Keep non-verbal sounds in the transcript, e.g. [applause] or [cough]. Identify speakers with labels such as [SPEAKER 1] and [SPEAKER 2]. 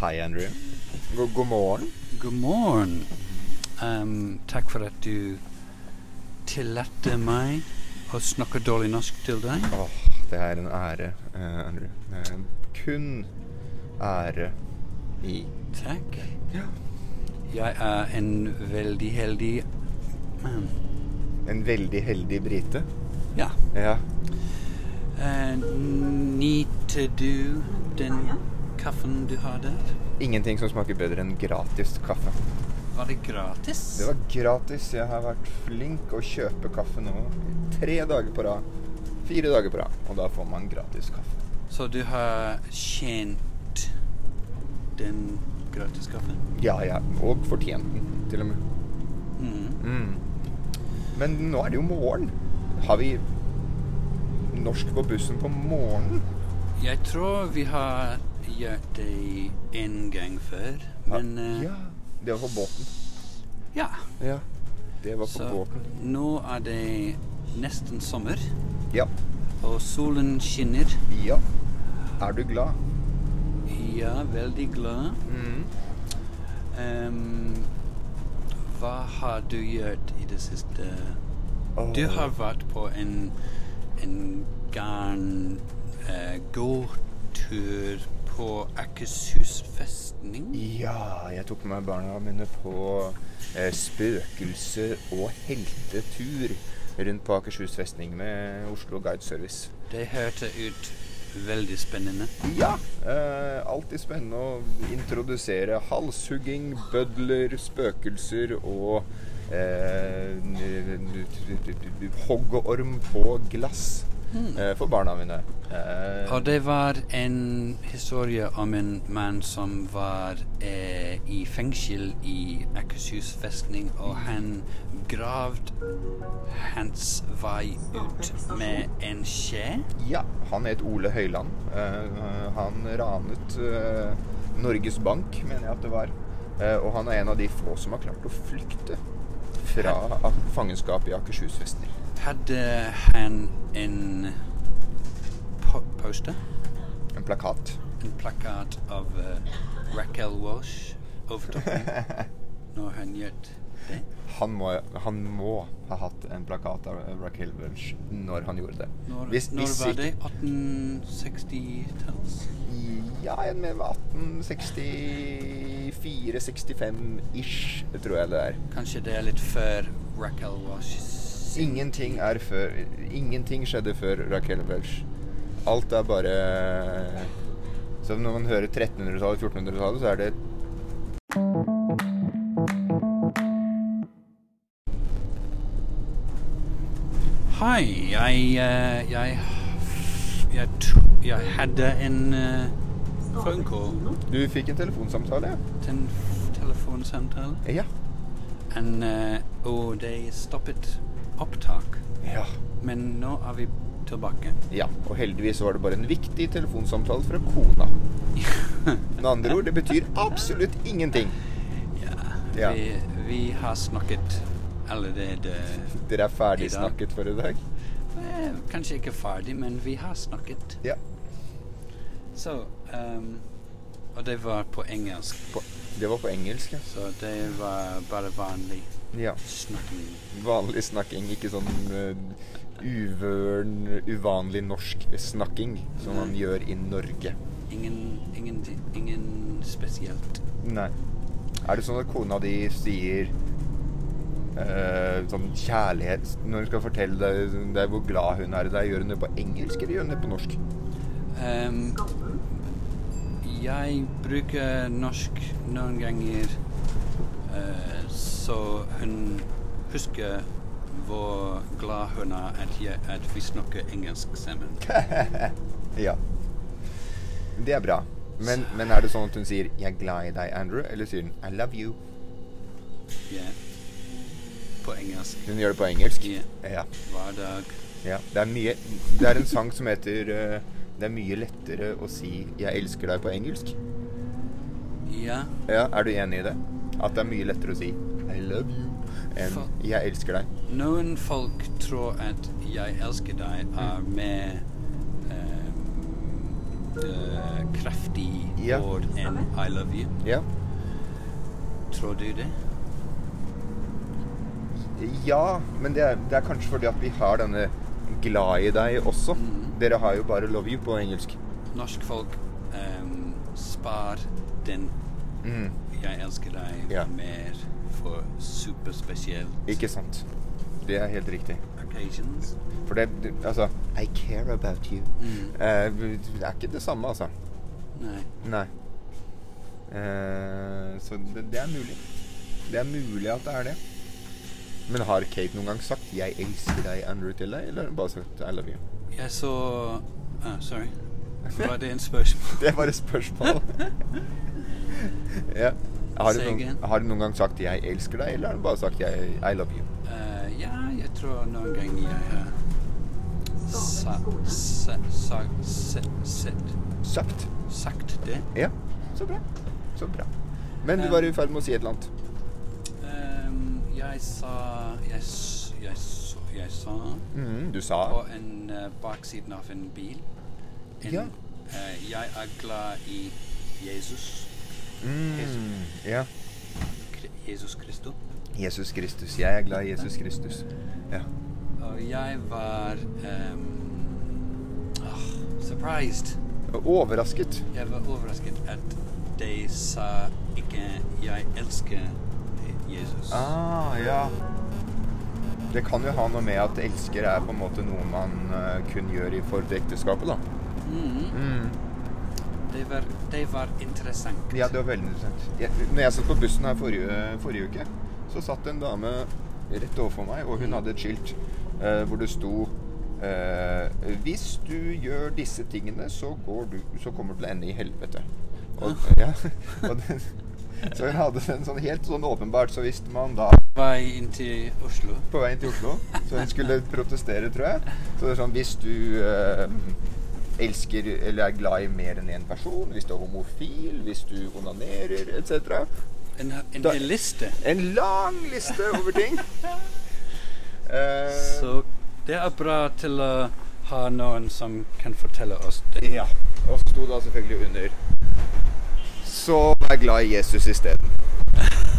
[SPEAKER 1] Hei, Andrew.
[SPEAKER 2] God, god morgen.
[SPEAKER 3] God morgen. Ehm, takk for at du tillater meg å snakke dårlig norsk til deg.
[SPEAKER 1] Åh, det er en ære, eh, Andrew. Eh, kun ære i
[SPEAKER 3] Takk.
[SPEAKER 1] Ja.
[SPEAKER 3] Jeg er en veldig heldig mann.
[SPEAKER 1] En veldig heldig brite.
[SPEAKER 3] Ja.
[SPEAKER 1] Ja.
[SPEAKER 3] Eh, Nyter du den kaffen du har der?
[SPEAKER 1] Ingenting som smaker bedre enn gratis kaffe.
[SPEAKER 3] Var det gratis?
[SPEAKER 1] Det var gratis. Jeg har vært flink å kjøpe kaffe nå i tre dager på rad. Fire dager på rad. Og da får man gratis kaffe.
[SPEAKER 3] Så du har tjent den gratis kaffen?
[SPEAKER 1] Ja, ja. Og fortjent den, til og med.
[SPEAKER 3] Mm.
[SPEAKER 1] Mm. Men nå er det jo morgen. Har vi norsk på bussen på morgenen?
[SPEAKER 3] Jeg tror vi har gjort det en gang før, men eh,
[SPEAKER 1] Ja. Det var på båten.
[SPEAKER 3] ja.
[SPEAKER 1] Ja. Det var på
[SPEAKER 3] Så
[SPEAKER 1] båten.
[SPEAKER 3] nå er det nesten sommer,
[SPEAKER 1] Ja.
[SPEAKER 3] og solen skinner.
[SPEAKER 1] Ja. Er du glad?
[SPEAKER 3] Ja, veldig glad. Em, hva har du gjort i det siste?
[SPEAKER 1] Åh.
[SPEAKER 3] Du har vært på en, en garn eh, gåtur på Akershus festning.
[SPEAKER 1] Ja, jeg tok med barna mine på eh, spøkelse- og heltetur rundt på Akershus festning med Oslo Guide Service.
[SPEAKER 3] Det hørte ut veldig spennende.
[SPEAKER 1] Ja! Eh, alltid spennende å introdusere halshugging, bødler, spøkelser og eh, n- n- hoggorm på glass eh, for barna mine. Eh,
[SPEAKER 3] Og det var en historie om en mann som var eh, i fengsel i Akershus festning, og han gravd hans vei ut med en skje.
[SPEAKER 1] Ja, han het Ole Høiland. Eh, han ranet eh, Norges Bank, mener jeg at det var. Eh, og han er en av de få som har klart å flykte fra ak- fangenskap i Akershus festning.
[SPEAKER 3] Hadde han en po poster,
[SPEAKER 1] En plakat.
[SPEAKER 3] en plakat av eh, Raquel Walsh over
[SPEAKER 1] [laughs]
[SPEAKER 3] toppen når han gjorde det.
[SPEAKER 1] Han må, han må ha hatt en plakat av Raquel Welch når han gjorde det.
[SPEAKER 3] Når,
[SPEAKER 1] Hvis-
[SPEAKER 3] når
[SPEAKER 1] hvis
[SPEAKER 3] var
[SPEAKER 1] ikke-
[SPEAKER 3] det? 1860-talls?
[SPEAKER 1] Ja, jeg mener 1864-65-ish, tror jeg det er.
[SPEAKER 3] Kanskje det er litt før Raquel Walsh sin-
[SPEAKER 1] Ingenting er før Ingenting skjedde før Raquel Welch. Alt er bare Så når man hører 1300-tallet, 1400-tallet, så er det
[SPEAKER 3] Hei, jeg eh, jeg, jeg, tro- jeg hadde en eh, phone call.
[SPEAKER 1] Du fikk en telefonsamtale, ja?
[SPEAKER 3] En f- telefonsamtale.
[SPEAKER 1] Ja.
[SPEAKER 3] En, eh, og de stoppet opptak.
[SPEAKER 1] ja.
[SPEAKER 3] Men nå er vi tilbake.
[SPEAKER 1] Ja, og heldigvis så var det bare en viktig telefonsamtale fra kona. Med andre ord, det betyr absolutt ingenting. Ja.
[SPEAKER 3] Vi, vi har snakket allerede
[SPEAKER 1] Dere er
[SPEAKER 3] I
[SPEAKER 1] ferdig
[SPEAKER 3] dag.
[SPEAKER 1] snakket for i dag?
[SPEAKER 3] eh, Kanskje ikke ferdig, men vi har snakket.
[SPEAKER 1] Ja.
[SPEAKER 3] Så ehm, Og det var på engelsk,
[SPEAKER 1] På, det var på engelsk, ja.
[SPEAKER 3] så det var bare vanlig
[SPEAKER 1] ja.
[SPEAKER 3] snakking.
[SPEAKER 1] Vanlig snakking, ikke sånn eh, uvøren, uvanlig norsk snakking som man gjør i Norge.
[SPEAKER 3] Ingen, ingen, ingen spesielt.
[SPEAKER 1] Nei. Er det sånn at kona di sier eh, sånn kjærlighet Når hun skal fortelle deg, deg hvor glad hun er i deg, gjør hun det på engelsk eller gjør hun det på norsk?
[SPEAKER 3] Ehm, jeg bruker norsk noen ganger eh, så hun husker hvor glad hun er at, jeg, at vi snakker engelsk sammen.
[SPEAKER 1] Ja. Det er bra. Men, men er det sånn at hun sier 'jeg er glad i deg, Andrew', eller sier hun 'I love you'?
[SPEAKER 3] Ja. På engelsk.
[SPEAKER 1] Hun gjør det på engelsk?
[SPEAKER 3] Ja.
[SPEAKER 1] Ja.
[SPEAKER 3] Hver dag.
[SPEAKER 1] ja. Det, er mye, det er en sang som heter eh, 'Det er mye lettere å si 'jeg elsker deg' på engelsk'.
[SPEAKER 3] Ja.
[SPEAKER 1] Ja, Er du enig i det? At det er mye lettere å si 'I love you' enn
[SPEAKER 3] Fa-
[SPEAKER 1] 'jeg elsker deg'.
[SPEAKER 3] Noen folk tror at
[SPEAKER 1] Mm.
[SPEAKER 3] 'jeg elsker deg' er med eh, eh, kraftig
[SPEAKER 1] Ja.
[SPEAKER 3] ord enn I love you.
[SPEAKER 1] Ja.
[SPEAKER 3] Tror du det?
[SPEAKER 1] Ja, men det er, det er kanskje fordi at vi har denne glad i deg også.
[SPEAKER 3] Mm.
[SPEAKER 1] Dere har jo bare 'love you' på engelsk.
[SPEAKER 3] Norsk folk ehm, spar den
[SPEAKER 1] Mm.
[SPEAKER 3] 'jeg elsker deg'
[SPEAKER 1] Ja.
[SPEAKER 3] mer for superspesielt
[SPEAKER 1] Ikke sant. Det er helt riktig.
[SPEAKER 3] occasions.
[SPEAKER 1] For det, det Altså I care about you.
[SPEAKER 3] Mm.
[SPEAKER 1] Eh, det er ikke det samme, altså.
[SPEAKER 3] Nei.
[SPEAKER 1] Nei. Eh, så det, det er mulig. Det er mulig at det er det. Men har Kate noen gang sagt 'jeg elsker deg, Andrew Tilley'? Eller har hun bare sagt 'I love you'? [laughs]
[SPEAKER 3] Jeg så ah, Sorry. Var det en spørsmål?
[SPEAKER 1] Det var et [laughs] spørsmål.
[SPEAKER 3] [laughs]
[SPEAKER 1] ja. Har du,
[SPEAKER 3] Say
[SPEAKER 1] noen,
[SPEAKER 3] again.
[SPEAKER 1] har du noen gang sagt 'jeg elsker deg', eller har du bare sagt jeg, 'I love you'?
[SPEAKER 3] Eh, ja, jeg tror noen gang jeg har sa, sa, sa, se- sett,
[SPEAKER 1] Sagt.
[SPEAKER 3] sagt det.
[SPEAKER 1] Ja. Så bra. Så bra. Men du
[SPEAKER 3] Um,
[SPEAKER 1] var i ferd med å si et eller annet.
[SPEAKER 3] Ehm, jeg sa jeg, s- jeg, s- jeg sa
[SPEAKER 1] Mhm, du sa
[SPEAKER 3] på en eh, baksiden av en bil en,
[SPEAKER 1] Ja.
[SPEAKER 3] eh, Jeg er glad i Jesus.
[SPEAKER 1] mm, Ja.
[SPEAKER 3] Kri- Jesus Kristus.
[SPEAKER 1] Jesus Kristus. Jeg er glad i Jesus Kristus. Ja.
[SPEAKER 3] Og jeg Oh, var ehm, ah, surprised.
[SPEAKER 1] Overrasket.
[SPEAKER 3] Jeg var overrasket at de sa ikke 'jeg elsker Jesus'.
[SPEAKER 1] Ah, ja. Det kan jo ha noe med at elsker er på en måte noe man eh, kun gjør i forhold til ekteskapet, da.
[SPEAKER 3] Mm,
[SPEAKER 1] Mm.
[SPEAKER 3] det, var, det var interessant.
[SPEAKER 1] Ja, det var veldig interessant. Jeg, når jeg satt på bussen her forrige, forrige uke, så satt det en dame rett overfor meg, og hun
[SPEAKER 3] Mm.
[SPEAKER 1] hadde et skilt eh, hvor det sto eh, Hvis du gjør disse tingene, så, går du, så kommer du til å ende i helvete. Og, ja, [laughs] og den, så hun hadde den sånn helt sånn åpenbart. Så hvis man da
[SPEAKER 3] Vei inn til Oslo.
[SPEAKER 1] på veien til Oslo, så hun skulle protestere, tror jeg. Så det er sånn Hvis du eh, elsker eller er glad i mer enn én person, hvis du er homofil, hvis du onanerer etc.
[SPEAKER 3] En, en
[SPEAKER 1] Da-
[SPEAKER 3] hel liste.
[SPEAKER 1] En lang liste over ting. Eh,
[SPEAKER 3] Så det er bra til å ha noen som kan fortelle oss det.
[SPEAKER 1] Ja. Og så sto det da selvfølgelig under Så vær glad i Jesus isteden.